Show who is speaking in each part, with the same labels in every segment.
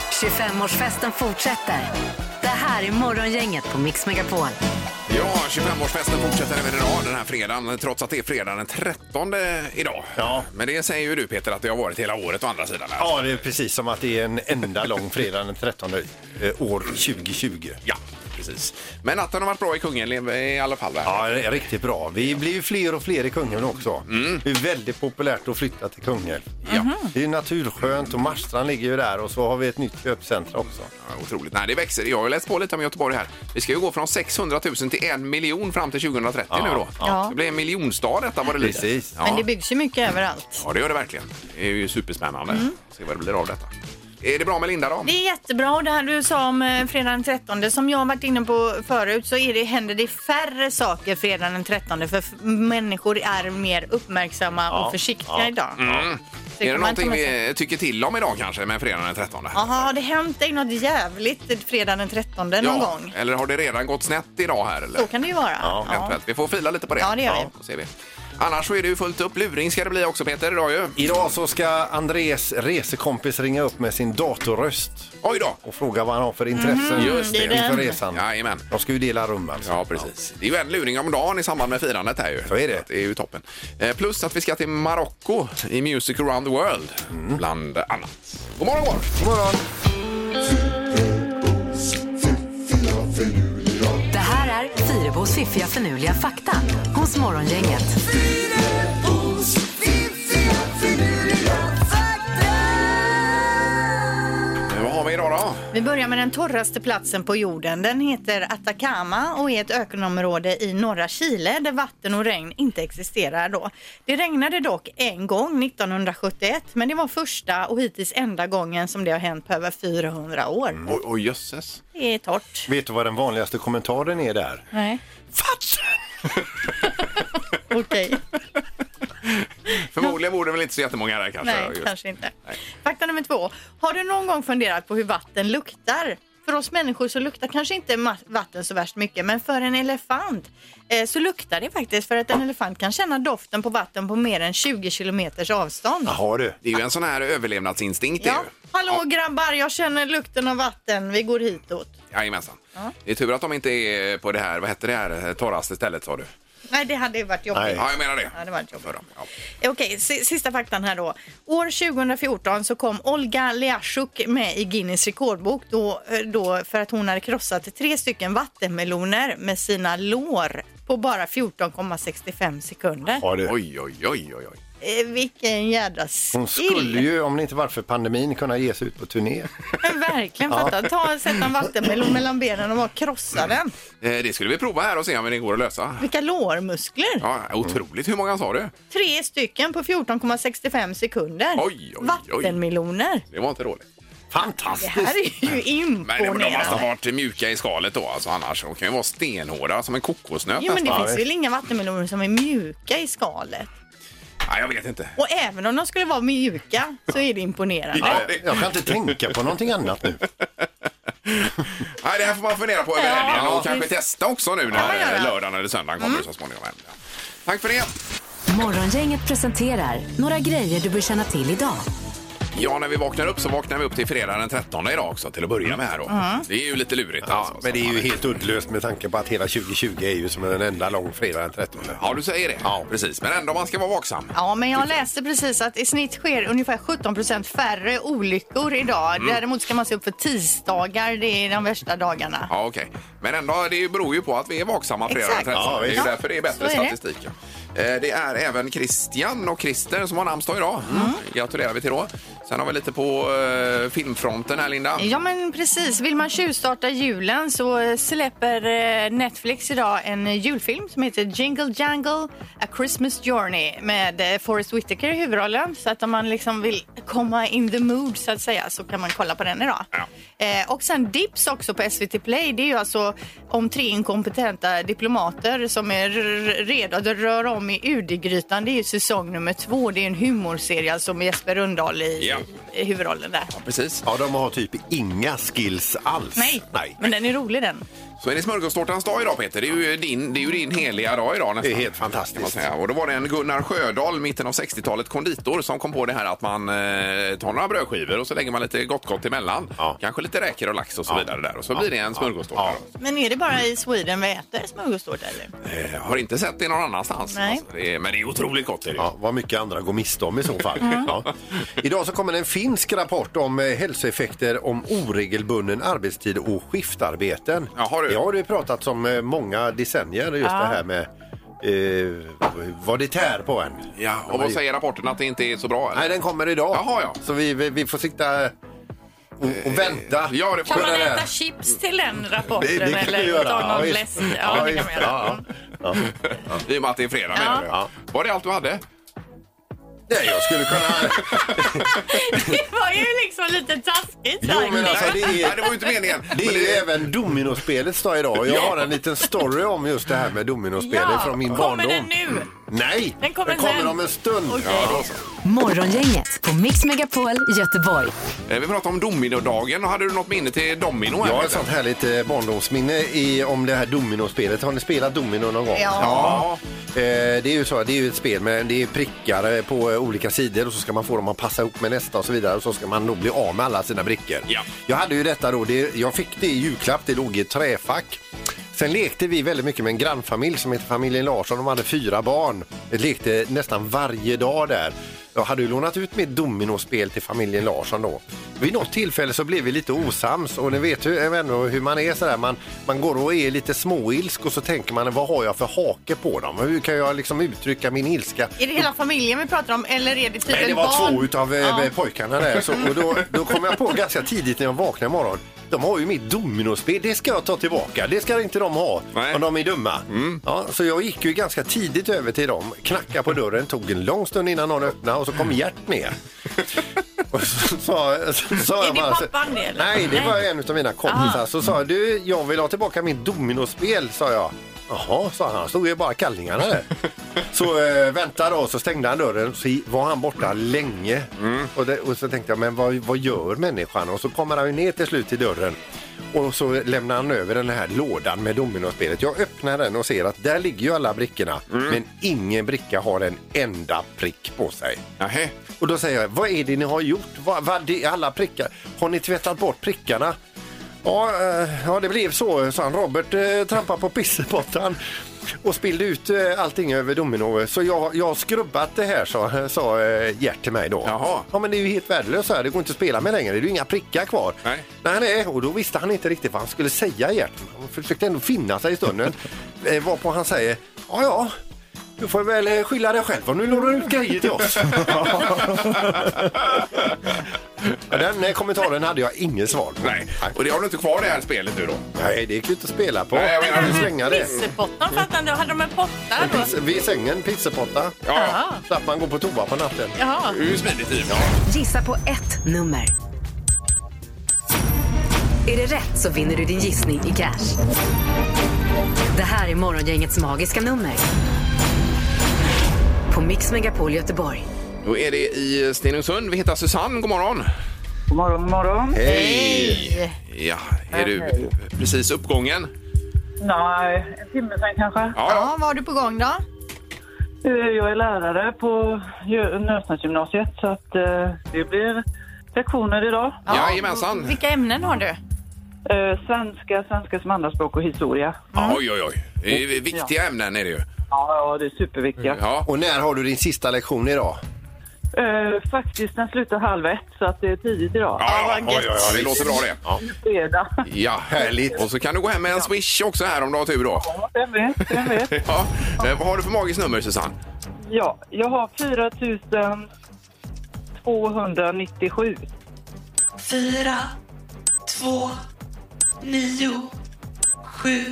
Speaker 1: 25-årsfesten fortsätter. Det här är Morgongänget på Mix Megapol.
Speaker 2: Ja, 25-årsfesten fortsätter även idag den här fredagen trots att det är fredag den 13 idag.
Speaker 3: Ja.
Speaker 2: Men det säger ju du Peter att det har varit hela året å andra sidan. här.
Speaker 3: Ja, det är precis som att det är en enda lång fredag den 13 eh, år 2020.
Speaker 2: ja, precis. Men natten har varit bra i Kungälv i alla fall. Där.
Speaker 3: Ja, det är riktigt bra. Vi blir ju fler och fler i Kungälv också. Det är väldigt populärt att flytta till Kungälv.
Speaker 2: Mm. Ja.
Speaker 3: Det är ju naturskönt och Marstrand ligger ju där och så har vi ett nytt köpcentra också.
Speaker 2: Ja, Otroligt. Nej, det växer. Jag har läst på lite om Göteborg här. Vi ska ju gå från 600 000 till en miljon fram till 2030
Speaker 3: Ja,
Speaker 2: nu då.
Speaker 4: ja.
Speaker 2: Det blir en miljonstad detta vad det lider.
Speaker 3: Precis.
Speaker 2: Ja.
Speaker 4: Men det byggs ju mycket överallt.
Speaker 2: ja, det gör det verkligen. Det är ju superspännande. Se vad det blir av detta. Är det bra med Linda då?
Speaker 4: Mm. Det är jättebra och det här du sa om eh, fredagen den 13 som jag har varit inne på förut så är det, händer det färre saker fredagen den 13 för f- människor är mer uppmärksamma och försiktiga idag. Så
Speaker 2: Mm. Är det
Speaker 4: kan man inte
Speaker 2: någonting
Speaker 4: komma till.
Speaker 2: vi tycker till om idag kanske med fredagen den 13?
Speaker 4: Jaha, har det hänt dig något jävligt fredagen den 13 någon gång?
Speaker 2: Eller har det redan gått snett idag här? Eller?
Speaker 4: Så kan det ju vara. Ja,
Speaker 2: Eventuellt. Vi får fila lite på det.
Speaker 4: Ja, det gör vi.
Speaker 2: då ser vi. Annars så är det ju fullt upp. Luring ska det bli också Peter idag
Speaker 4: Mhm,
Speaker 2: ju.
Speaker 3: Idag så ska Andres resekompis ringa upp med sin datorröst
Speaker 2: Oj då! Mhm,
Speaker 3: och fråga vad han har för intressen
Speaker 2: Just det.
Speaker 3: inför resan.
Speaker 2: Jajamän.
Speaker 3: De ska ju dela rum alltså.
Speaker 2: Ja, precis. Det är ju en luring om dagen i samband med firandet här ju.
Speaker 3: Så är det.
Speaker 2: att är ju toppen. Eh, Plus att vi ska till Marocko i Music around the world,
Speaker 3: Mm.
Speaker 2: bland annat. God morgon, god morgon!
Speaker 3: God morgon!
Speaker 1: Det här är Fyrebos fiffiga förnuliga fakta hos Morgongänget.
Speaker 2: Eh, Vad har vi idag då?
Speaker 4: Vi börjar med den torraste platsen på jorden. Den heter Atacama och är ett ökenområde i norra Chile där vatten och regn inte existerar då. Det regnade dock en gång 1971 men det var första och hittills enda gången som det har hänt på över 400 år.
Speaker 2: Oj, oj jösses.
Speaker 4: Det är torrt.
Speaker 3: Vet du vad den vanligaste kommentaren är där?
Speaker 4: Nej, okej.
Speaker 2: Förmodligen vore det väl inte så jättemånga här kanske.
Speaker 4: Nej,
Speaker 2: just.
Speaker 4: kanske inte. Fakta nummer två. Har du någon gång funderat på hur vatten luktar? För oss människor så luktar kanske inte ma- vatten så värst mycket, men för en elefant eh, så luktar det faktiskt för att en elefant kan känna doften på vatten på mer än 20 kilometers avstånd.
Speaker 3: Jaha du.
Speaker 2: Det är ju en sån här överlevnadsinstinkt.
Speaker 4: Ja.
Speaker 2: Det
Speaker 4: Hallå grabbar, jag känner lukten av vatten. Vi går hitåt.
Speaker 2: är ju. Jajamensan. Det är tur att de inte är på det här, vad hette det här torraste stället sa du?
Speaker 4: Nej, det hade ju varit jobbigt.
Speaker 3: Nej.
Speaker 2: Ja, jag menar det.
Speaker 4: Ja, det var inte jobbigt.
Speaker 2: För dem, ja.
Speaker 4: Eh, Okej, si- sista faktan här då. År 2014 så kom Olga Leashuk med i Guinness rekordbok då, eh, då för att hon hade krossat tre stycken vattenmeloner med sina lår på bara 14,65 sekunder.
Speaker 3: Ja, du.
Speaker 2: Oj, oj, oj, oj, oj.
Speaker 4: Eh, vilken jädra
Speaker 3: Hon
Speaker 4: skill!
Speaker 3: skulle ju, om det inte var för pandemin, kunna ge sig ut på turné.
Speaker 4: Men Verkligen, fatta. Ta, sätta en vattenmelon mellan benen och bara krossa den.
Speaker 2: Eh, Det skulle vi prova här och se om det går att lösa.
Speaker 4: Vilka lårmuskler!
Speaker 2: Ja, otroligt. Hur många sa du?
Speaker 4: Tre stycken på 14,65 sekunder.
Speaker 2: Oj, oj, oj.
Speaker 4: Vattenmeloner!
Speaker 2: Det var inte dåligt.
Speaker 4: Det
Speaker 3: Fantastiskt!
Speaker 4: här är ju
Speaker 2: Men de måste ha
Speaker 4: imponerande.
Speaker 2: varit mjuka i skalet då, alltså annars. De kan ju vara stenhårda som en kokosnöt
Speaker 4: Jo, men det
Speaker 2: nästan.
Speaker 4: finns väl inga vattenmeloner som är mjuka i skalet?
Speaker 2: Nej, jag vet inte.
Speaker 4: Och även om de skulle vara mjuka så är det imponerande.
Speaker 3: Ja, Jag kan inte tänka på någonting annat nu.
Speaker 2: Nej, det här får man fundera på över
Speaker 4: Ja,
Speaker 2: helgen och
Speaker 4: precis.
Speaker 2: kanske testa också nu
Speaker 4: Ja,
Speaker 2: när
Speaker 4: ja,
Speaker 2: eh,
Speaker 4: ja.
Speaker 2: lördagen eller söndagen kommer
Speaker 4: Mm.
Speaker 2: så småningom. Ja. Tack för det!
Speaker 1: Morgongänget presenterar några grejer du bör känna till idag.
Speaker 2: Ja, när vi vaknar upp så vaknar vi upp till fredag den 13 idag också till att börja med här
Speaker 4: Mm.
Speaker 2: då. Det är ju lite lurigt alltså.
Speaker 3: Men det är ju helt uddlöst med tanke på att hela 2020 är ju som en enda lång fredag den 13.
Speaker 2: Ja, du säger det. Ja, precis. Men ändå, man ska vara vaksam.
Speaker 4: Ja, men jag läste precis att i snitt sker ungefär 17 procent färre olyckor idag. Däremot ska man se upp för tisdagar, det är de värsta dagarna.
Speaker 2: Ja, okej. Men ändå, det beror ju på att vi är vaksamma fredag den
Speaker 4: Exakt.
Speaker 2: 13.
Speaker 3: Ja,
Speaker 2: det är ju
Speaker 4: visst.
Speaker 2: därför det är
Speaker 4: Så
Speaker 2: bättre
Speaker 4: är det.
Speaker 2: statistik. ja. Eh, Det är även Christian och Christer som har namnsdag idag.
Speaker 4: Mm.
Speaker 2: Mm. Gratulerar vi till då. Sen har vi lite på eh, filmfronten här, Linda.
Speaker 4: Ja men precis, vill man tjuvstarta julen så eh, släpper eh, Netflix idag en eh, julfilm som heter Jingle Jangle A Christmas Journey med eh, Forrest Whitaker i huvudrollen. Så att om man liksom vill komma in the mood så att säga så kan man kolla på den idag. Eh, Och sen Dips också på SVT Play. Det är ju alltså om tre inkompetenta diplomater som är r- r- redo att röra om i UD-grytan. Det är ju säsong nummer två. Det är en humorserie alltså med Jesper Rundahl i,
Speaker 2: Ja.
Speaker 4: i huvudrollen där.
Speaker 2: Precis.
Speaker 3: Ja, de har typ inga skills alls.
Speaker 4: Nej,
Speaker 3: Nej.
Speaker 4: men den är rolig den.
Speaker 2: Så är det smörgåstårtans dag idag Peter. Det är ju din, det är ju din heliga dag idag nästan.
Speaker 3: Det är helt
Speaker 2: kan man
Speaker 3: fantastiskt.
Speaker 2: säga. Och då var det en Gunnar Sjödahl, mitten av 60-talet, konditor som kom på det här att man eh, tar några brödskivor och så lägger man lite gott-gott emellan.
Speaker 3: Ja.
Speaker 2: Kanske lite räkor och lax och så
Speaker 3: Ja.
Speaker 2: vidare där. Och så blir det en smörgåstårta.
Speaker 3: Ja.
Speaker 2: då.
Speaker 4: Men är det bara i Sweden vi äter smörgåstårta eller?
Speaker 2: Eh, har inte sett det någon annanstans.
Speaker 4: Nej.
Speaker 2: Alltså, det är, men det är otroligt gott. Är det. ju. Mm.
Speaker 3: Ja, vad mycket andra går miste om i så fall. Ja. Idag så kommer en finsk rapport om eh, hälsoeffekter om oregelbunden arbetstid och skiftarbeten.
Speaker 2: Jaha, du.
Speaker 3: Det har du pratat om eh, många decennier, just det här med eh, vad det tär på en.
Speaker 2: Ja, och vad säger rapporten att det inte är så bra? Eller?
Speaker 3: Nej, den kommer idag.
Speaker 2: Jaha, ja. Eh,
Speaker 3: Så vi, vi, vi får sitta och, och vänta.
Speaker 2: Ja, det får-
Speaker 4: Kan
Speaker 3: på
Speaker 4: man
Speaker 3: den här.
Speaker 4: äta chips till den rapporten
Speaker 3: Det, det kan
Speaker 4: eller
Speaker 3: vi göra.
Speaker 4: ta någon
Speaker 3: visst.
Speaker 4: läsk? Ja, det kan man
Speaker 3: visst.
Speaker 4: göra.
Speaker 3: Ja, ja. Ja.
Speaker 2: I och med att det är fredag
Speaker 4: Ja.
Speaker 2: menar du?
Speaker 3: Ja.
Speaker 2: Var det allt du hade?
Speaker 3: Nej, jag skulle kunna...
Speaker 4: Det var ju liksom lite taskigt
Speaker 3: Jo, men alltså, det är...
Speaker 2: Nej, det var ju inte meningen.
Speaker 3: Det är
Speaker 2: Men
Speaker 3: ju även dominospelets dag idag. Jag
Speaker 2: Ja.
Speaker 3: har en liten story om just det här med dominospelet
Speaker 4: Ja,
Speaker 3: från min
Speaker 4: kommer
Speaker 3: barndom.
Speaker 4: den nu?
Speaker 3: Nej,
Speaker 4: Den kommer sen.
Speaker 3: om en stund.
Speaker 4: Okej.
Speaker 3: Ja.
Speaker 1: Morgongänget på Mix Megapol Göteborg.
Speaker 2: Eh, Vi pratade om dominodagen. Hade du något minne till domino?
Speaker 3: Jag
Speaker 2: här,
Speaker 3: har ett
Speaker 2: Peter?
Speaker 3: sånt härligt eh, barndomsminne i, om det här dominospelet. Har ni spelat domino någon gång?
Speaker 2: Ja.
Speaker 3: Eh, Det är ju så, det är ju ett spel med det är prickar eh, på eh, olika sidor och så ska man få dem att passa ihop med nästa och så vidare och så ska man då bli av med alla sina brickor.
Speaker 2: Ja.
Speaker 3: Jag hade ju detta då, det, jag fick det i julklapp, det låg i ett träfack. Sen lekte vi väldigt mycket med en grannfamilj som heter familjen Larsson, de hade fyra barn. Vi lekte nästan varje dag där. Jag hade ju lånat ut mitt dominospel till familjen Larsson då. Vid något tillfälle så blev vi lite osams och ni vet hur, jag vet ändå hur man är sådär. Man, man går och är lite småilsk och så tänker man vad har jag för hake på dem? Hur kan jag liksom uttrycka min ilska?
Speaker 4: Är det hela familjen vi pratar om eller är det typ
Speaker 3: Nej, det
Speaker 4: ett
Speaker 3: var
Speaker 4: barn?
Speaker 3: två utav eh,
Speaker 4: Ja.
Speaker 3: pojkarna där. Så, och då, då kom jag på ganska tidigt när jag vaknade imorgon. De har ju mitt dominospel, det ska jag ta tillbaka. Det ska inte de ha
Speaker 2: Nej.
Speaker 3: om de är dumma.
Speaker 4: Mm.
Speaker 3: Ja, så jag gick ju ganska tidigt över till dem, knackade på dörren, tog en lång stund innan någon öppnade och så kom Gert ner. Och så sa så, sa
Speaker 4: Är
Speaker 3: jag
Speaker 4: det
Speaker 3: bara... så-
Speaker 4: pappan det, eller?
Speaker 3: Nej, det
Speaker 4: Nej. Ah.
Speaker 3: var en av mina kompisar. Så sa jag, du, jag vill ha tillbaka mitt dominospel, sa jag. Jaha, sa han, stod ju bara kallingarna där. Så eh, vänta då, så stängde han dörren, så i- var han borta länge.
Speaker 4: Mm.
Speaker 3: Och, det, och så tänkte jag, men vad, vad gör människan? Och så kommer han ju ner till slut till dörren. Och så lämnar han över den här lådan med dominospelet. Jag öppnar den och ser att där ligger ju alla brickorna.
Speaker 4: Mm.
Speaker 3: Men ingen bricka har en enda prick på sig.
Speaker 2: Nähä.
Speaker 3: Och då säger jag, vad är det ni har gjort? Vad, vad, det är alla prickar. Har ni tvättat bort prickarna? Ja, eh, ja det blev så, sa han. Robert eh, trampade på pissebotten och spillde ut eh, allting över domino. Så jag, jag har skrubbat det här, sa, sa eh, Gert till mig då.
Speaker 2: Jaha.
Speaker 3: Ja, men det är ju helt värdelöst här. Det går inte att spela med längre. Det är ju inga prickar kvar.
Speaker 2: Nej.
Speaker 3: Nej, nej, och då visste han inte riktigt vad han skulle säga Gert. Han försökte ändå finna sig i stunden. eh, varpå han säger, ja, ja. Du får väl eh, skylla dig själv om du lånar ut grejer till oss. Ja, Den eh, kommentaren hade jag ingen svar på.
Speaker 2: Nej. Och det har du inte kvar det här spelet nu då?
Speaker 3: Nej, det gick ju inte att spela på.
Speaker 2: Nej, jag
Speaker 3: Vi
Speaker 2: menar- mm.
Speaker 3: kan slänga det.
Speaker 4: Pissepottan fattar inte. Hade de en potta då?
Speaker 3: Piss- Vid sängen, pizzapotta.
Speaker 2: Ja.
Speaker 3: Slapp man gå på toa på natten.
Speaker 4: Jaha.
Speaker 2: Det är ju smidigt i och för sig.
Speaker 1: Gissa på ett nummer. Är det rätt så vinner du din gissning i cash. Det här är Morgongängets magiska nummer. På Mix Megapol Göteborg.
Speaker 2: Då är det i Stenungsund. Vi hittar Susanne. God morgon!
Speaker 5: God morgon, god morgon.
Speaker 2: Hej! Ja, är du
Speaker 5: Hej.
Speaker 2: precis uppgången?
Speaker 5: Nej, en timme sen kanske.
Speaker 4: Ja, vad har du på gång då?
Speaker 5: Eh, Jag är lärare på Gö- Nösnäsgymnasiet så att eh, det blir lektioner idag.
Speaker 2: ja. Jajamensan!
Speaker 4: Vilka ämnen har du?
Speaker 5: Eh, Svenska, svenska som andraspråk och historia.
Speaker 2: Ja, Oj, oj, oj. Det är ju viktiga ämnen är det ju.
Speaker 5: Ja, ja det är superviktiga.
Speaker 2: Ja.
Speaker 3: Och när har du din sista lektion idag?
Speaker 5: Eh, Faktiskt, den slutar halv ett så att det är tidigt idag.
Speaker 2: Ja, ja, ja, ja, det låter bra det.
Speaker 5: Fredag.
Speaker 2: Ja, härligt. Och så kan du gå hem med en swish också här om du har tur då.
Speaker 5: Ja, Vem vet, vem vet.
Speaker 2: Ja. Eh, Vad har du för magiskt nummer, Susanne?
Speaker 5: Ja, jag har 4 297.
Speaker 6: fyra, två, nio, sju,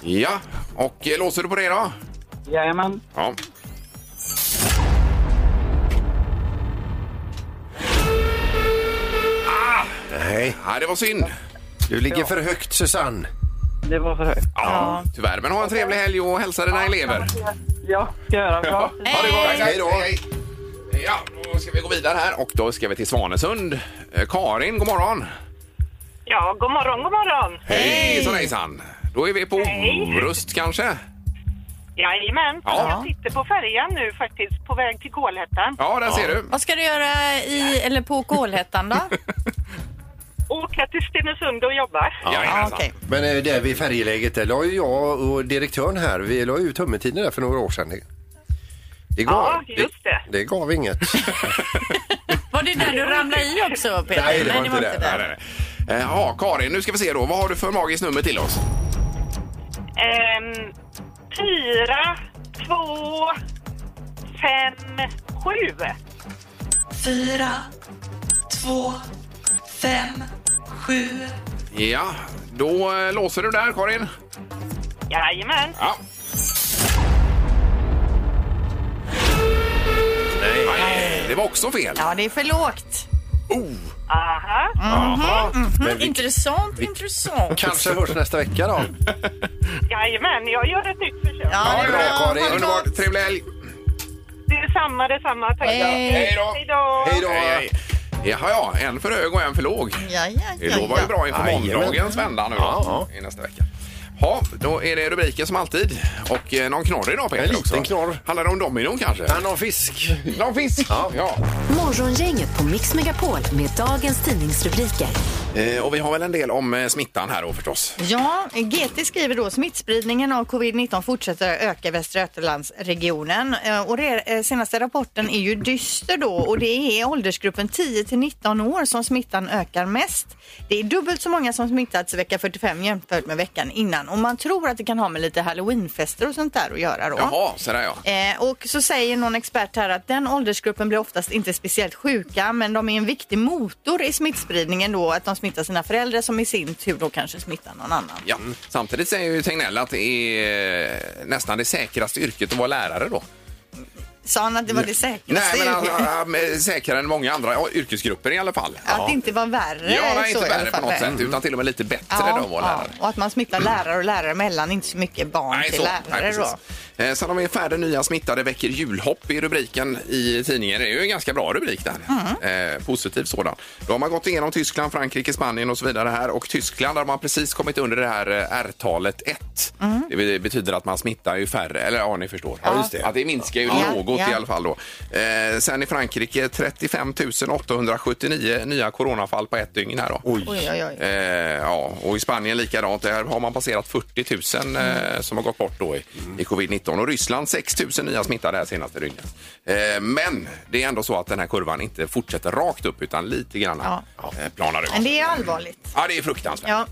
Speaker 2: Ja, och eh, låser du på det då?
Speaker 5: Jajamän.
Speaker 2: Ja.
Speaker 3: Nej,
Speaker 2: Ah! ja, det var synd.
Speaker 3: du ligger för högt Susanne.
Speaker 5: Det var för högt.
Speaker 2: Ja, tyvärr. Men ha en trevlig helg och hälsa dina elever.
Speaker 5: Ja, ska jag göra. Bra.
Speaker 2: Ha det gott.
Speaker 4: Hej.
Speaker 2: Hej då. Ja, då Då ska vi gå vidare här och då ska vi till Svanesund. Eh, Karin, god morgon!
Speaker 5: Ja, god morgon, god morgon.
Speaker 2: Hej! Hejsan Då är vi på
Speaker 5: Hej.
Speaker 2: Orust kanske?
Speaker 5: Jajamän.
Speaker 2: Ja.
Speaker 5: Jag sitter på färjan nu faktiskt, på väg till Kolhättan.
Speaker 2: Ja, där ser du.
Speaker 4: Vad ska du göra i, eller på Kolhättan då?
Speaker 5: Åka till Stenungsund och jobba.
Speaker 4: Ja,
Speaker 2: Jajamensan.
Speaker 4: okej.
Speaker 3: Men eh, där vid färjeläget, där la ju jag och direktören här, vi la ju ut hummertiden där för några år sedan. Det- Det gav,
Speaker 5: Ja, just det.
Speaker 3: det. gav
Speaker 4: Mhm,
Speaker 3: inget.
Speaker 4: Var det där du ramlade i också Peter?
Speaker 3: Nej, det var inte det.
Speaker 2: Nej,
Speaker 4: där.
Speaker 2: nej, nej. Eh, Ja, Karin, nu ska vi se då. Vad har du för magiskt nummer till oss?
Speaker 5: Ehm, fyra, två, fem, sju.
Speaker 6: fyra, två, fem, sju,
Speaker 2: Ja, då eh, låser du där, Karin.
Speaker 5: Jajamän.
Speaker 2: Ja. Nej. Det var också fel.
Speaker 4: Ja, det är för lågt.
Speaker 5: Aha.
Speaker 2: Jaha.
Speaker 3: Mhm.
Speaker 4: Mm, intressant, intressant.
Speaker 3: Kanske hörs nästa vecka då.
Speaker 5: Jajamän, jag gör ett nytt försök.
Speaker 4: Ja, det är
Speaker 3: bra, Karin.
Speaker 4: Ha det gott.
Speaker 2: Underbart. Trevlig helg.
Speaker 5: Det är samma, det är samma. Tack.
Speaker 4: Hej.
Speaker 2: Hej då.
Speaker 5: Hej då.
Speaker 3: Hej då.
Speaker 2: Hej, hej. Jaha, ja. En för hög och en för låg.
Speaker 4: Ja, ja,
Speaker 2: Det
Speaker 4: ja,
Speaker 2: lovar ju
Speaker 4: ja.
Speaker 2: bra inför
Speaker 3: Jajamän.
Speaker 2: måndagens vända nu då,
Speaker 3: Ja,
Speaker 2: i nästa vecka. Ja, då är det rubriker som alltid. Och eh, någon knorr idag Peter
Speaker 3: En liten
Speaker 2: också.
Speaker 3: knorr.
Speaker 2: Handlar det om dominon kanske?
Speaker 3: Han har fisk.
Speaker 2: Någon fisk? Ja.
Speaker 1: Morgongänget på Mix Megapol med dagens tidningsrubriker.
Speaker 2: Eh, och vi har väl en del om eh, smittan här då förstås.
Speaker 4: Ja, GT skriver då smittspridningen av covid-19 fortsätter att öka i Västra Götalandsregionen. Eh, Och det, eh, senaste rapporten är ju dyster då och det är i åldersgruppen 10 till 19 år som smittan ökar mest. Det är dubbelt så många som smittats i vecka 45 jämfört med veckan innan och man tror att det kan ha med lite halloweenfester och sånt där att göra då.
Speaker 2: Jaha, så där ja.
Speaker 4: Eh, och så säger någon expert här att den åldersgruppen blir oftast inte speciellt sjuka men de är en viktig motor i smittspridningen då att de smittar sina föräldrar som i sin tur då kanske smittar någon annan.
Speaker 2: ja. Samtidigt säger ju Tegnell att det är eh, nästan det säkraste yrket att vara lärare då.
Speaker 4: Sa han att det var det säkraste?
Speaker 2: Nej, men
Speaker 4: yrket?
Speaker 2: alltså, han är säkrare än många andra ja, yrkesgrupper i alla fall.
Speaker 4: Att det inte var värre.
Speaker 2: Ja, nej,
Speaker 4: så
Speaker 2: inte
Speaker 4: i alla
Speaker 2: värre på
Speaker 4: fall.
Speaker 2: något sätt utan till och med lite bättre
Speaker 4: Ja,
Speaker 2: än att vara
Speaker 4: ja.
Speaker 2: lärare.
Speaker 4: Och att man smittar lärare och lärare mellan, inte så mycket barn till lärare
Speaker 2: precis.
Speaker 4: då.
Speaker 2: Eh, Sen har vi färre nya smittade väcker julhopp i rubriken i tidningen. Det är ju en ganska bra rubrik där.
Speaker 4: Mm.
Speaker 2: Eh, positiv sådan. Då har man gått igenom Tyskland, Frankrike, Spanien och så vidare här. Och Tyskland har man precis kommit under det här eh, R-talet 1. Det be- betyder att man smittar ju färre, eller ja, ni förstår.
Speaker 4: Ja, just
Speaker 3: det.
Speaker 2: Att det minskar ju
Speaker 4: Ja,
Speaker 2: något
Speaker 4: ja.
Speaker 2: i alla fall då. Eh, sen i Frankrike 35 879 nya coronafall på ett dygn här då.
Speaker 4: Oj, oj, oj.
Speaker 2: Eh, ja, och i Spanien likadant. Där har man passerat 40 000
Speaker 4: Mm.
Speaker 2: eh, som har gått bort då i, i covid-19. Och Ryssland 6 000 nya smittade här senaste dygnet. Eh, men det är ändå så att den här kurvan inte fortsätter rakt upp utan lite grann
Speaker 4: Ja.
Speaker 2: eh, planar ut.
Speaker 4: Men det är allvarligt.
Speaker 2: Ja, det är fruktansvärt.
Speaker 4: Ja.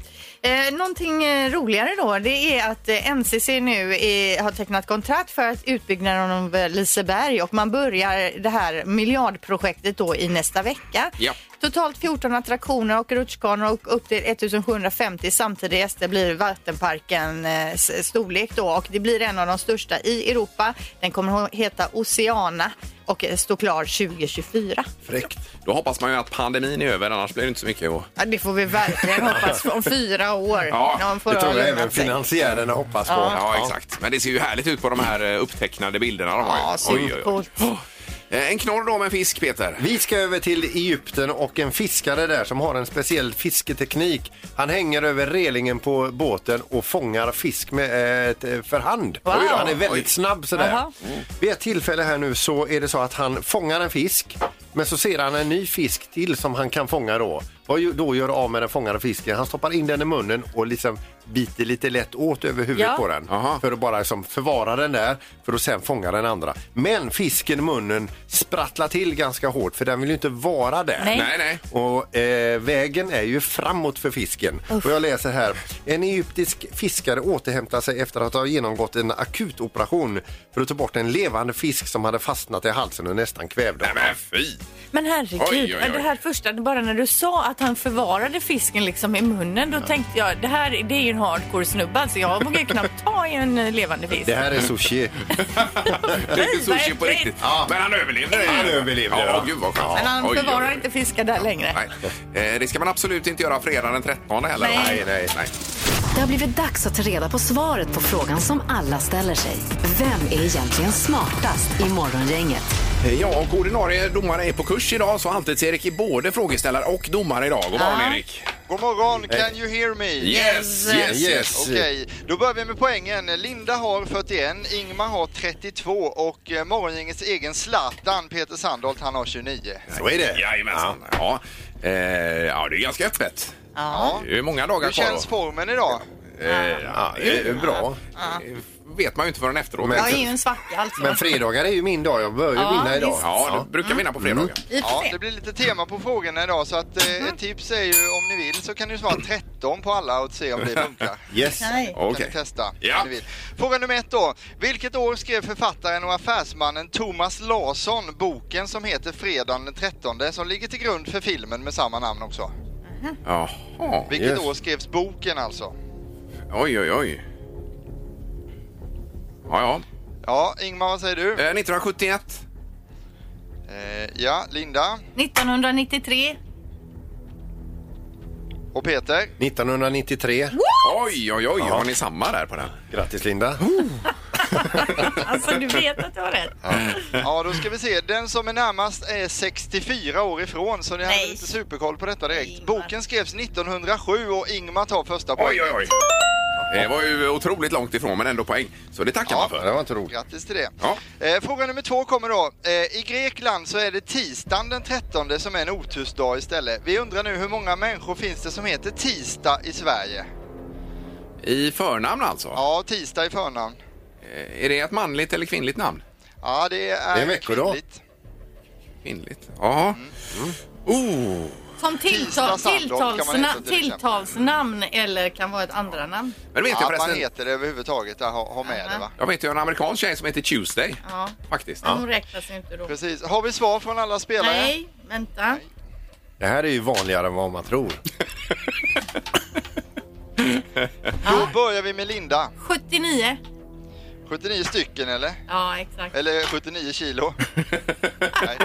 Speaker 4: Eh, någonting eh, roligare då, det är att eh, NCC nu eh, har tecknat kontrakt för att utbyggnaden av eh, Liseberg och man börjar det här miljardprojektet då i nästa vecka.
Speaker 2: Ja.
Speaker 4: Totalt 14 attraktioner och rutschkanor och upp till 1750 samtidiga gäster blir vattenparkens storlek då och det blir en av de största i Europa. Den kommer att heta Oceana och eh, stå klar 2024.
Speaker 2: Fräckt. Då hoppas man ju att pandemin är över, annars blir det inte så mycket att...
Speaker 4: Ja, det får vi verkligen hoppas om fyra år.
Speaker 2: Ja,
Speaker 4: När de får
Speaker 3: Det tror
Speaker 4: ha
Speaker 3: jag även
Speaker 4: lugnat sig.
Speaker 3: finansiärerna hoppas på.
Speaker 2: Ja, exakt. Men det ser ju härligt ut på de här eh, upptecknade bilderna. De har ju.
Speaker 4: Ja, supercoolt.
Speaker 2: Eh, En knorr då med fisk, Peter.
Speaker 3: Vi ska över till Egypten och en fiskare där som har en speciell fisketeknik. Han hänger över relingen på båten och fångar fisk med, eh, t- för hand.
Speaker 4: Wow.
Speaker 3: Oj då, Han är väldigt
Speaker 2: Oj.
Speaker 3: snabb sådär.
Speaker 4: Aha.
Speaker 3: Vid ett tillfälle här nu så är det så att han fångar en fisk men så ser han en ny fisk till som han kan fånga då. Vad ju- då gör av med den fångade fisken? Han stoppar in den i munnen och liksom biter lite lätt åt över huvudet
Speaker 4: Ja.
Speaker 3: på den
Speaker 2: Aha.
Speaker 3: för att bara liksom förvara den där för att sen fånga den andra. Men fisken i munnen sprattlar till ganska hårt för den vill ju inte vara där.
Speaker 4: Nej.
Speaker 2: Nej, nej.
Speaker 3: Och eh, vägen är ju framåt för fisken. Och jag läser här. En egyptisk fiskare återhämtar sig efter att ha genomgått en akutoperation för att ta bort en levande fisk som hade fastnat i halsen och nästan kvävde
Speaker 2: Nej,
Speaker 3: honom.
Speaker 2: men fy!
Speaker 4: Men herregud,
Speaker 2: Oj, oj, oj.
Speaker 4: men det här första, bara när du sa att han förvarade fisken liksom i munnen, då tänkte jag det här det är ju en hardcore snubbe alltså. Jag vågar ju knappt ta i en eh, levande fisk.
Speaker 3: Det här är sushi.
Speaker 2: Det är inte sushi på
Speaker 4: Verkligen.
Speaker 2: riktigt. Men han överlevde det.
Speaker 3: Han överlevde,
Speaker 2: Ja,
Speaker 3: ja.
Speaker 2: gud vad skönt.
Speaker 4: Men han
Speaker 2: Oj, oj, oj.
Speaker 4: förvarar inte fiskar där längre.
Speaker 2: Nej. Eh, Det ska man absolut inte göra fredagen den 13 heller.
Speaker 4: Nej.
Speaker 2: nej, nej. nej.
Speaker 1: Det har blivit dags att ta reda på svaret på frågan som alla ställer sig. Vem är egentligen smartast i Morgongänget?
Speaker 2: Eh, Ja, och ordinarie domare är på kurs idag så Halvtids-Erik är både frågeställare och domare idag. God morgon
Speaker 4: Ja.
Speaker 2: Erik!
Speaker 7: God morgon, can you hear me?
Speaker 2: Yes, yes, yes!
Speaker 7: Okej, då börjar vi med poängen. Linda har 41, Ingmar har 32 och eh, morgongängets egen Zlatan, Peter Sandholt, han har 29.
Speaker 3: Så är det.
Speaker 2: Jajamensan! Ja. Ja. Eh, ja, det är ganska öppet.
Speaker 7: Ja.
Speaker 2: Det är många dagar
Speaker 7: Hur
Speaker 2: kvar.
Speaker 7: känns formen idag?
Speaker 2: då. Eh, ja,
Speaker 3: Det är bra.
Speaker 2: eh, vet man ju inte förrän efteråt.
Speaker 3: Men-
Speaker 4: Jag är ju en svacka alltså.
Speaker 3: Men fredagar är ju min dag. Jag börjar ju
Speaker 4: Ja,
Speaker 3: vinna idag. Mm.
Speaker 4: visst.
Speaker 2: Ja, du brukar vinna på fredagar.
Speaker 4: Vi får
Speaker 7: Ja,
Speaker 4: se.
Speaker 7: det blir lite tema på frågorna idag så att eh,
Speaker 4: Mm-hmm.
Speaker 7: ett tips är ju om ni vill så kan ni svara 13 på alla och se om det funkar.
Speaker 3: Yes.
Speaker 8: Nej.
Speaker 7: Kan
Speaker 2: Okej.
Speaker 7: ni testa
Speaker 2: Ja.
Speaker 7: om ni vill. Fråga nummer ett då. Vilket år skrev författaren och affärsmannen Thomas Larsson boken som heter Fredagen den 13 som ligger till grund för filmen med samma namn också?
Speaker 2: Jaha.
Speaker 7: Vilket
Speaker 3: Yes.
Speaker 7: år skrevs boken alltså?
Speaker 2: Oj, oj, oj. Ja,
Speaker 7: Ja, Ingmar vad säger du?
Speaker 2: ja. Eh, 1971.
Speaker 7: Eh, ja, Linda
Speaker 4: 1993.
Speaker 7: och Peter.
Speaker 3: 1993.
Speaker 2: Oj, oj, oj. Har ni samma där på den?
Speaker 3: Grattis Linda.
Speaker 4: Alltså du vet att du har rätt.
Speaker 7: Ja, då ska vi se. Den som är närmast är 64 år ifrån så ni hade
Speaker 4: Nej.
Speaker 7: inte superkoll på detta direkt.
Speaker 4: Ingmar.
Speaker 7: Boken skrevs 1907 och Ingmar tar första
Speaker 2: Oj,
Speaker 7: poängen.
Speaker 2: oj, oj. Det var ju otroligt långt ifrån, men ändå poäng. Så det tackar
Speaker 7: Ja.
Speaker 2: man för.
Speaker 3: Det var inte roligt.
Speaker 7: Grattis till det.
Speaker 2: Ja.
Speaker 7: Eh, fråga nummer två kommer då. Eh, I Grekland så är det tisdagen den 13 som är en otursdag istället. Vi undrar nu hur många människor finns det som heter tisdag i Sverige?
Speaker 2: I förnamn alltså?
Speaker 7: Ja, tisdag i förnamn.
Speaker 2: Eh, Är det ett manligt eller kvinligt namn?
Speaker 7: Ja, det är,
Speaker 3: Det är en veckodag.
Speaker 7: kvinnligt.
Speaker 2: Kvinnligt. Ja. Oh.
Speaker 4: Som tilltal,
Speaker 7: Tisdag Sandholt kan man heta till
Speaker 4: tilltalsna,
Speaker 7: exempel.
Speaker 4: tilltalsnamn eller kan vara ett andra namn.
Speaker 2: Men vet
Speaker 7: Ja,
Speaker 2: jag
Speaker 7: att man
Speaker 2: förresten.
Speaker 7: heter det överhuvudtaget, ja, ha, ha med det va?
Speaker 2: Jag vet ju en amerikansk tjej som heter Tuesday.
Speaker 4: Ja.
Speaker 2: Faktiskt.
Speaker 4: Hon räknas ju inte då.
Speaker 7: Precis. Har vi svar från alla spelare?
Speaker 4: Nej, vänta.
Speaker 3: Det här är ju vanligare än vad man tror.
Speaker 7: Då börjar vi med Linda.
Speaker 4: 79.
Speaker 7: 79 stycken eller?
Speaker 4: Ja, exakt.
Speaker 7: Eller 79 kilo? Nej.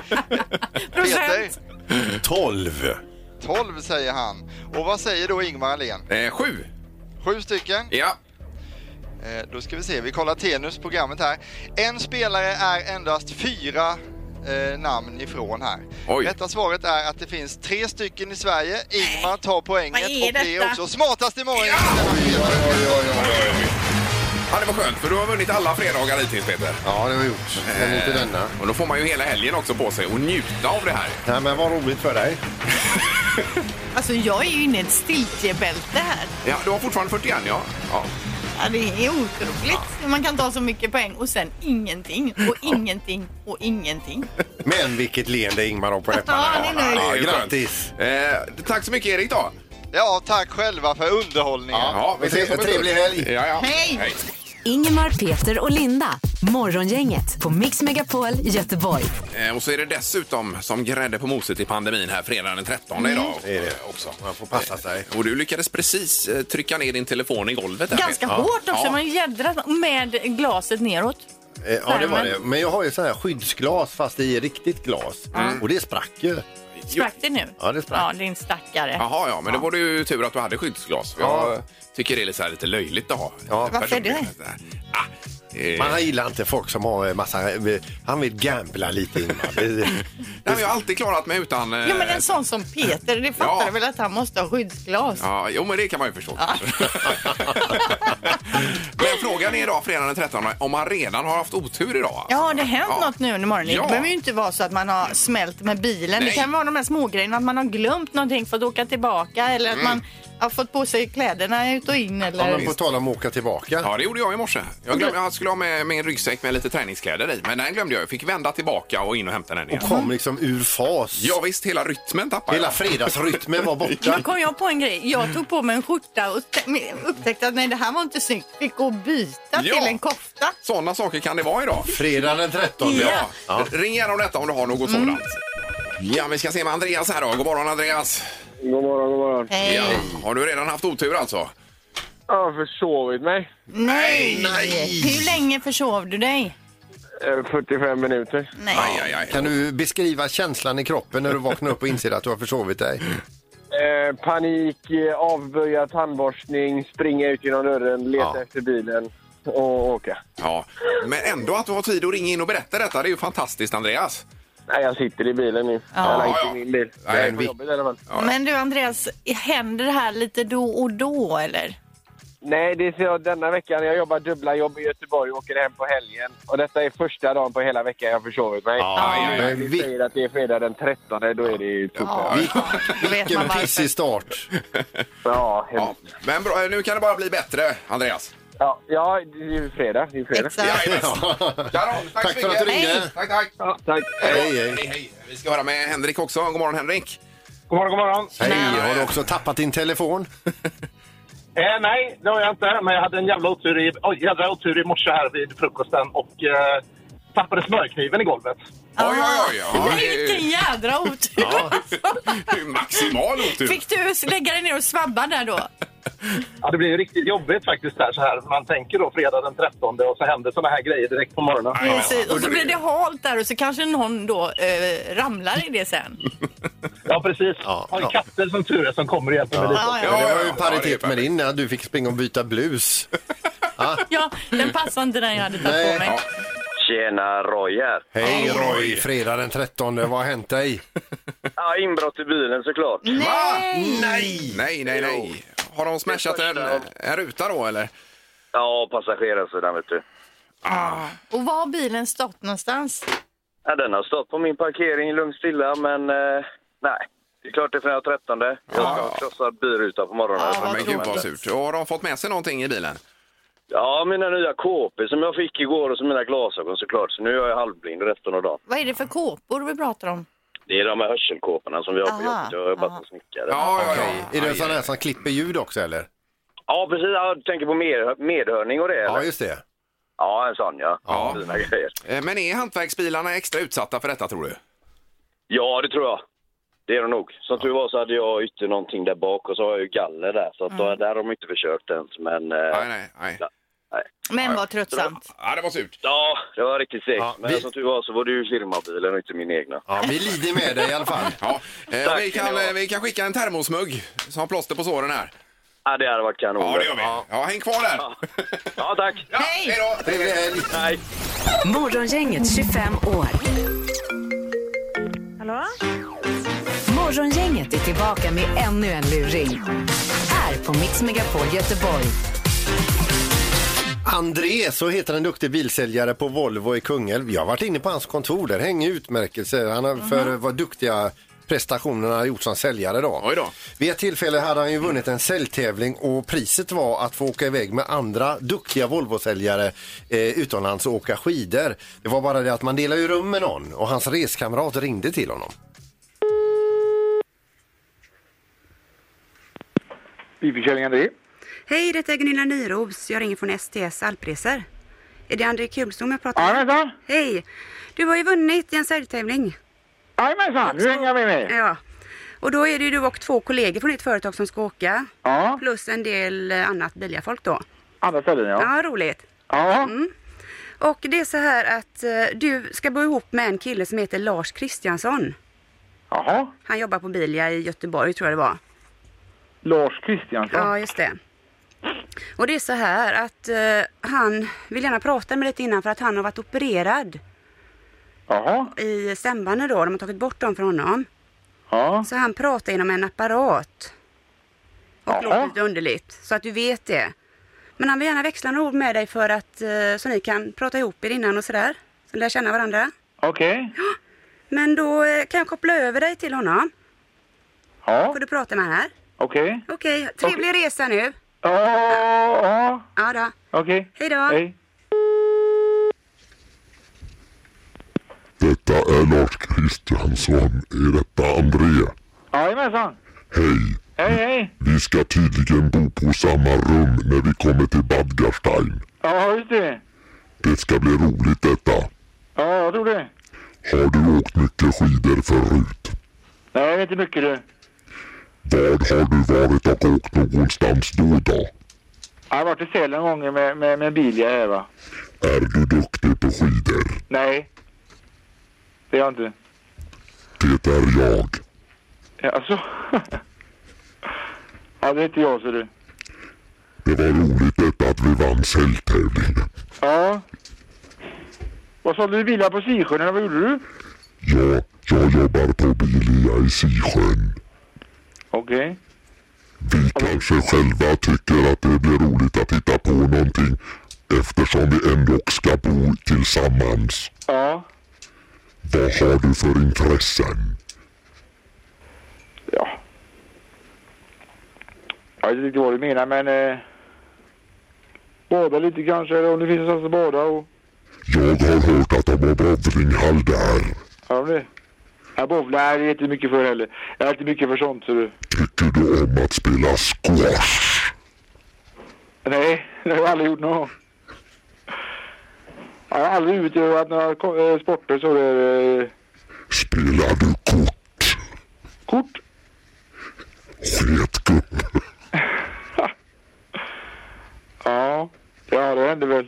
Speaker 7: Peter,
Speaker 4: Procent.
Speaker 3: 12.
Speaker 7: 12 säger han. Och vad säger då Ingmar Ahlén?
Speaker 2: Eh, sju.
Speaker 7: Sju stycken.
Speaker 2: Ja.
Speaker 7: Eh, då ska vi se, vi kollar Tenus programmet här. En spelare är endast fyra eh, namn ifrån här.
Speaker 2: Oj.
Speaker 7: Rätta svaret är att det finns tre stycken i Sverige. Ingmar tar poängen
Speaker 4: Vad är
Speaker 7: och blir
Speaker 4: detta?
Speaker 7: också smartast i morgon.
Speaker 2: ja, det var skönt för du har vunnit alla fredagar hittills Peter.
Speaker 3: Ja, det har jag gjort. Men inte denna.
Speaker 2: Och då får man ju hela helgen också på sig och njuta av det här.
Speaker 3: Nej, men vad roligt för dig.
Speaker 4: Alltså jag är ju inne i ett stiltjebälte här.
Speaker 2: Ja, du har fortfarande 41 ja. ja.
Speaker 4: Ja, det är otroligt. Man kan ta så mycket poäng och sen ingenting och ingenting och ingenting.
Speaker 3: Men vilket leende Ingmar har på läpparna.
Speaker 4: Ja, det är nöjd.
Speaker 2: det är ju
Speaker 3: grattis.
Speaker 2: skönt. Eh, tack så mycket Erik då.
Speaker 7: Ja, tack själva för underhållningen.
Speaker 2: Ja, vi ses om en stund.
Speaker 3: Trevlig helg.
Speaker 2: Ja, ja.
Speaker 4: Hej!
Speaker 1: Ingemar, Peter och Linda. Morgongänget på Mix Megapol Göteborg.
Speaker 2: Eh, Och så är det dessutom som grädde på moset i pandemin här fredagen den 13 idag.
Speaker 3: Mm. Det är det.
Speaker 2: Också.
Speaker 3: Man får passa sig.
Speaker 2: Och du lyckades precis eh, trycka ner din telefon i golvet. där,
Speaker 4: Ganska
Speaker 2: Peter.
Speaker 4: hårt också.
Speaker 2: Ja.
Speaker 4: Man jädras med glaset neråt.
Speaker 3: Eh, Ja, det var det. Men jag har ju så här skyddsglas fast i riktigt glas. Mm. Och det sprack ju.
Speaker 4: Sprack det nu?
Speaker 3: Ja, det sprack.
Speaker 4: Ja, din stackare.
Speaker 2: Jaha, ja, men då var det ju tur att du hade skyddsglas. för Jag tycker det är lite, så här, lite löjligt att ha.
Speaker 3: Ja.
Speaker 4: Varför
Speaker 2: Personligen.
Speaker 4: det?
Speaker 2: Ah, eh,
Speaker 3: Man gillar inte folk som har eh, massa... eh, Han vill gambla lite Ingmar. Det-
Speaker 2: nej, men jag har alltid klarat mig utan... eh,
Speaker 4: Ja, men en sån som Peter, det fattar
Speaker 2: Ja.
Speaker 4: väl att han måste ha skyddsglas?
Speaker 2: Ja, jo, men det kan man ju förstå. men frågan är idag, fredagen den 13, om man redan har haft otur idag. alltså.
Speaker 4: Ja, har det hänt
Speaker 2: Ja.
Speaker 4: något nu under morgonen?
Speaker 2: Ja.
Speaker 4: Det behöver ju inte vara så att man har smält med bilen.
Speaker 2: Nej.
Speaker 4: Det kan vara de här smågrejerna, att man har glömt någonting, fått åka tillbaka eller att
Speaker 2: Mm.
Speaker 4: man har fått på sig kläderna ut och in. Eller...
Speaker 3: Men på tal om att åka tillbaka.
Speaker 2: Ja, det gjorde jag i morse. Jag, glöm, jag skulle ha med min ryggsäck med lite träningskläder i, men den glömde jag. Jag fick vända tillbaka och in och hämta den igen.
Speaker 3: Kom liksom ur fas.
Speaker 2: Ja, visst, hela rytmen tappade
Speaker 3: Hela fredagsrytmen var borta.
Speaker 4: Nu kom jag på en grej. Jag tog på mig en skjorta och te- upptäckte att nej, det här var inte snyggt. Fick gå och byta
Speaker 2: Ja.
Speaker 4: till en kofta.
Speaker 2: jag. Sådana saker kan det vara idag.
Speaker 3: Fredag den Mm. 13.
Speaker 2: Ja. Ring gärna om detta om du har något sådant. Ja, vi ska se med Andreas här då. God morgon Andreas.
Speaker 5: God morgon, god morgon.
Speaker 4: Nej.
Speaker 2: Ja. Har du redan haft otur alltså?
Speaker 5: Jag har försovit mig.
Speaker 4: Nej.
Speaker 2: nej.
Speaker 4: Hur länge försov du dig?
Speaker 5: Eh, 45 minuter.
Speaker 4: Nej.
Speaker 2: Aj, aj, aj.
Speaker 3: Kan du beskriva känslan i kroppen när du vaknar upp och inser att du har försovit dig?
Speaker 5: Eh, panik, eh, avböja tandborstning, springa ut genom dörren, leta
Speaker 3: Ja.
Speaker 5: efter bilen.
Speaker 9: att åka.
Speaker 2: Ja. Men ändå att du har tid att ringa in och berätta detta, det är ju fantastiskt Andreas.
Speaker 9: Nej, jag sitter i bilen nu. Eller
Speaker 2: Ja,
Speaker 9: inte
Speaker 2: ja.
Speaker 9: i min bil.
Speaker 2: Nej,
Speaker 9: Nej, på
Speaker 2: vi-
Speaker 9: jobbet i alla fall.
Speaker 4: Men du Andreas, händer det här lite då och då eller?
Speaker 9: Nej, det ser jag denna veckan. Jag jobbar dubbla jobb i Göteborg och åker hem på helgen. Och detta är första dagen på hela veckan jag försovit mig.
Speaker 2: Ja, ja, ja.
Speaker 3: Men
Speaker 9: Vi
Speaker 3: vi-
Speaker 9: säger att det är fredag den 13, då är det ju toppen.
Speaker 4: Ja, då vet man
Speaker 3: Vilken
Speaker 4: varför.
Speaker 3: pissig start.
Speaker 9: Ja,
Speaker 2: Ja.
Speaker 9: hemskt.
Speaker 2: Men bra, nu kan det bara bli bättre, Andreas.
Speaker 9: ja. ja, det är ju fredag. Det är ju fredag.
Speaker 4: Exakt.
Speaker 2: Karon, tack,
Speaker 3: Tack
Speaker 2: så
Speaker 3: för
Speaker 2: mycket.
Speaker 3: att du ringde.
Speaker 2: Tack, tack.
Speaker 9: Ja, tack.
Speaker 3: Hej, hej.
Speaker 2: Hej, hej. Vi ska höra med Henrik också. God morgon Henrik.
Speaker 9: God morgon, god morgon.
Speaker 3: Hej, har du också tappat din telefon?
Speaker 9: Eh, nej, det har jag inte. Men jag hade en jävla otur i, oj, jävla otur i morse här vid frukosten och eh, tappade smörkniven i golvet.
Speaker 2: Oj, oj, oj. Ja, det är
Speaker 4: Vilken
Speaker 2: ju-
Speaker 4: jädra otur!
Speaker 2: det är ju maximal otur.
Speaker 4: Fick du lägga dig ner och svabba där då?
Speaker 9: Ja, det blir ju riktigt jobbigt faktiskt här så här. Man tänker då fredag den 13 och så händer såna här grejer direkt på morgonen.
Speaker 2: Nej, men- alltså,
Speaker 4: Precis. Och så blir det halt där och så kanske någon då eh, ramlar i det sen.
Speaker 9: Ja, precis.
Speaker 3: Ja,
Speaker 9: har ju
Speaker 3: ja.
Speaker 9: katter som tur är som kommer och hjälper mig lite.
Speaker 4: Ja,
Speaker 3: Ja,
Speaker 4: ja.
Speaker 3: det
Speaker 2: ja,
Speaker 3: var ju
Speaker 2: ja, det är
Speaker 3: paritet med
Speaker 2: perfekt.
Speaker 3: din när du fick springa och byta blus.
Speaker 4: ja, den passade inte den jag hade tagit
Speaker 3: Nej.
Speaker 4: på mig.
Speaker 2: Ja.
Speaker 10: Tjena Roger!
Speaker 3: Hej
Speaker 2: Oj.
Speaker 3: Roy, fredag den 13, vad har hänt dig?
Speaker 10: Ja, inbrott i bilen såklart.
Speaker 2: Va? Nej! Nej, nej, nej. Har de smashat en, en ruta då eller?
Speaker 10: Ja, passagerarsidan vet du.
Speaker 2: Ah.
Speaker 4: Och var har bilen stått någonstans?
Speaker 10: Ja, den har stått på min parkering lugnt stilla, men eh, nej. Det är klart det är fredag 13. Jag ska ha en krossad bilruta på morgonen.
Speaker 4: Ja, vad
Speaker 2: Men gud Ah. vad
Speaker 4: tråkigt.
Speaker 2: surt. Och har de fått med sig någonting i bilen?
Speaker 10: Ja, mina nya kåpor som jag fick igår och så mina glasögon såklart. Så nu är jag halvblind resten av dagen.
Speaker 4: Vad är det för kåpor vi pratar om?
Speaker 10: Det är de här hörselkåporna som vi har på
Speaker 4: Aha,
Speaker 10: jobbet. Jag har jobbat
Speaker 4: aha.
Speaker 10: som snickare.
Speaker 2: Ja, ja, ja.
Speaker 3: Är det en sån här som klipper ljud också eller?
Speaker 10: Ja, precis. Ja, du tänker på med, medhörning och det?
Speaker 3: Ja,
Speaker 10: Eller?
Speaker 3: just det.
Speaker 10: Ja, en sån ja.
Speaker 2: Ja.
Speaker 10: Fina grejer.
Speaker 2: Eh, Men är hantverksbilarna extra utsatta för detta tror du?
Speaker 10: Ja, det tror jag. Det är det nog. Som tur var så hade jag ytter någonting där bak och så har jag ju galler där. Så att då, där har de inte försökt ens. Men eh,
Speaker 2: Mm. Nej, nej, nej.
Speaker 4: Men vad tröttsamt.
Speaker 2: Ja, det var surt.
Speaker 10: ja, det var riktigt segt.
Speaker 3: Ja,
Speaker 10: men
Speaker 3: vi-
Speaker 10: som tur var så var det ju firmabilen och inte min egna.
Speaker 3: Ja, vi lider med dig i alla fall.
Speaker 2: Ja. Eh,
Speaker 10: Tack,
Speaker 2: vi, kan,
Speaker 10: ni har.
Speaker 2: eh, vi kan skicka en termosmugg som plåster på såren här.
Speaker 10: Ja, det hade varit kanon.
Speaker 2: Ja, det gör vi. Ja, häng kvar där.
Speaker 10: Ja, tack.
Speaker 2: Ja, hej då!
Speaker 3: Trevlig helg!
Speaker 10: Hej.
Speaker 1: Morgongänget 25 år.
Speaker 11: Hallå?
Speaker 1: Morgongänget är tillbaka med ännu en luring. Här på Mix Megapol Göteborg.
Speaker 3: André, så heter en duktig bilsäljare på Volvo i Kungälv. Jag har varit inne på hans kontor, där hänger utmärkelser han har för vad duktiga prestationer han har gjort som säljare. Då.
Speaker 2: Oj då.
Speaker 3: Vid ett tillfälle hade han ju vunnit en säljtävling och priset var att få åka iväg med andra duktiga Volvo-säljare eh, utomlands och åka skidor. Det var bara det att man delade ju rum med någon och hans reskamrat ringde till honom.
Speaker 9: Bilförsäljning, André.
Speaker 11: Hej, det är Gunilla Nyros. Jag ringer från STS Alpresor. Är det André Kulstom jag pratar med?
Speaker 9: Jajamensan!
Speaker 11: Hej! Du har ju vunnit i en säljtävling.
Speaker 9: Jajamensan! Nu hänger vi med.
Speaker 11: Ja. Och då är det ju du och två kollegor från ditt företag som ska åka.
Speaker 9: Ja,
Speaker 11: Plus en del eh, annat biljafolk då.
Speaker 9: andra ställen ja.
Speaker 11: Ja, roligt. Mm.
Speaker 9: Ja,
Speaker 11: Och det är så här att eh, du ska bo ihop med en kille som heter Lars Kristiansson.
Speaker 9: jaha.
Speaker 11: Han jobbar på Bilia i Göteborg tror jag det var.
Speaker 9: Lars Kristiansson.
Speaker 11: Ja, just det. Och det är så här att eh, han vill gärna prata med dig lite innan för att han har varit opererad
Speaker 9: Jaha.
Speaker 11: i stämbanden då. De har tagit bort dem från honom.
Speaker 9: Ja.
Speaker 11: Så han pratar genom en apparat. Och
Speaker 9: Jaha.
Speaker 11: låter lite underligt, så att du vet det. Men han vill gärna växla några ord med dig för att eh, så ni kan prata ihop er innan och sådär. Så ni lär känna varandra.
Speaker 9: Okej.
Speaker 11: Men då eh, kan jag koppla över dig till honom.
Speaker 9: Ja,
Speaker 11: Får du prata med honom här?
Speaker 9: okej.
Speaker 11: Okej, trevlig resa nu.
Speaker 9: Ja, ja,
Speaker 11: Ja då.
Speaker 9: okej.
Speaker 11: Hej då.
Speaker 9: Hej.
Speaker 12: Detta är Lars Kristiansson. Är detta André?
Speaker 9: Jajamensan.
Speaker 12: Hej.
Speaker 9: Hej, hej.
Speaker 12: Vi ska tydligen bo på samma rum när vi kommer till Badgarstein.
Speaker 9: Ja, just det.
Speaker 12: Det ska bli roligt detta.
Speaker 9: Ja, jag tror det.
Speaker 12: Har du åkt mycket skidor förut?
Speaker 9: Nej, det är inte mycket du.
Speaker 12: Vad har du varit och åkt någonstans då då?
Speaker 9: Jag har varit i Sälen gånger med, med, med bil jag är va.
Speaker 12: Är du duktig på skidor?
Speaker 9: Nej. Det är jag inte.
Speaker 12: Det är jag.
Speaker 9: Ja, Alltså. ja, det är inte jag ser du.
Speaker 12: Det var roligt detta att vi vann säljtävlingen.
Speaker 13: Ja. Vad sålde du bilar på Sisjön eller vad gjorde du?
Speaker 12: Ja, jag jobbar på Bilia i Sisjön.
Speaker 13: Okej.
Speaker 12: Vi kanske själva tycker att det blir roligt att titta på någonting eftersom vi ändå ska bo tillsammans.
Speaker 13: Ja.
Speaker 12: Vad har du för intressen?
Speaker 13: Jag vet inte riktigt vad du menar men... Eh, bada lite kanske eller om det finns någonstans att bada och...
Speaker 12: Jag har hört att de har bowlinghall där.
Speaker 13: Ja, men det... Jag bowlar är jag inte mycket för heller. Jag är inte mycket för sånt så du.
Speaker 12: Tycker du om att spela squash?
Speaker 13: Nej, det har jag aldrig gjort någon gång. Jag har aldrig utövat några ko- eh, sporter så det... är, Eh,
Speaker 12: Spelar du kort?
Speaker 13: Kort?
Speaker 12: Sket gubbe.
Speaker 13: ja. Ja, det händer väl.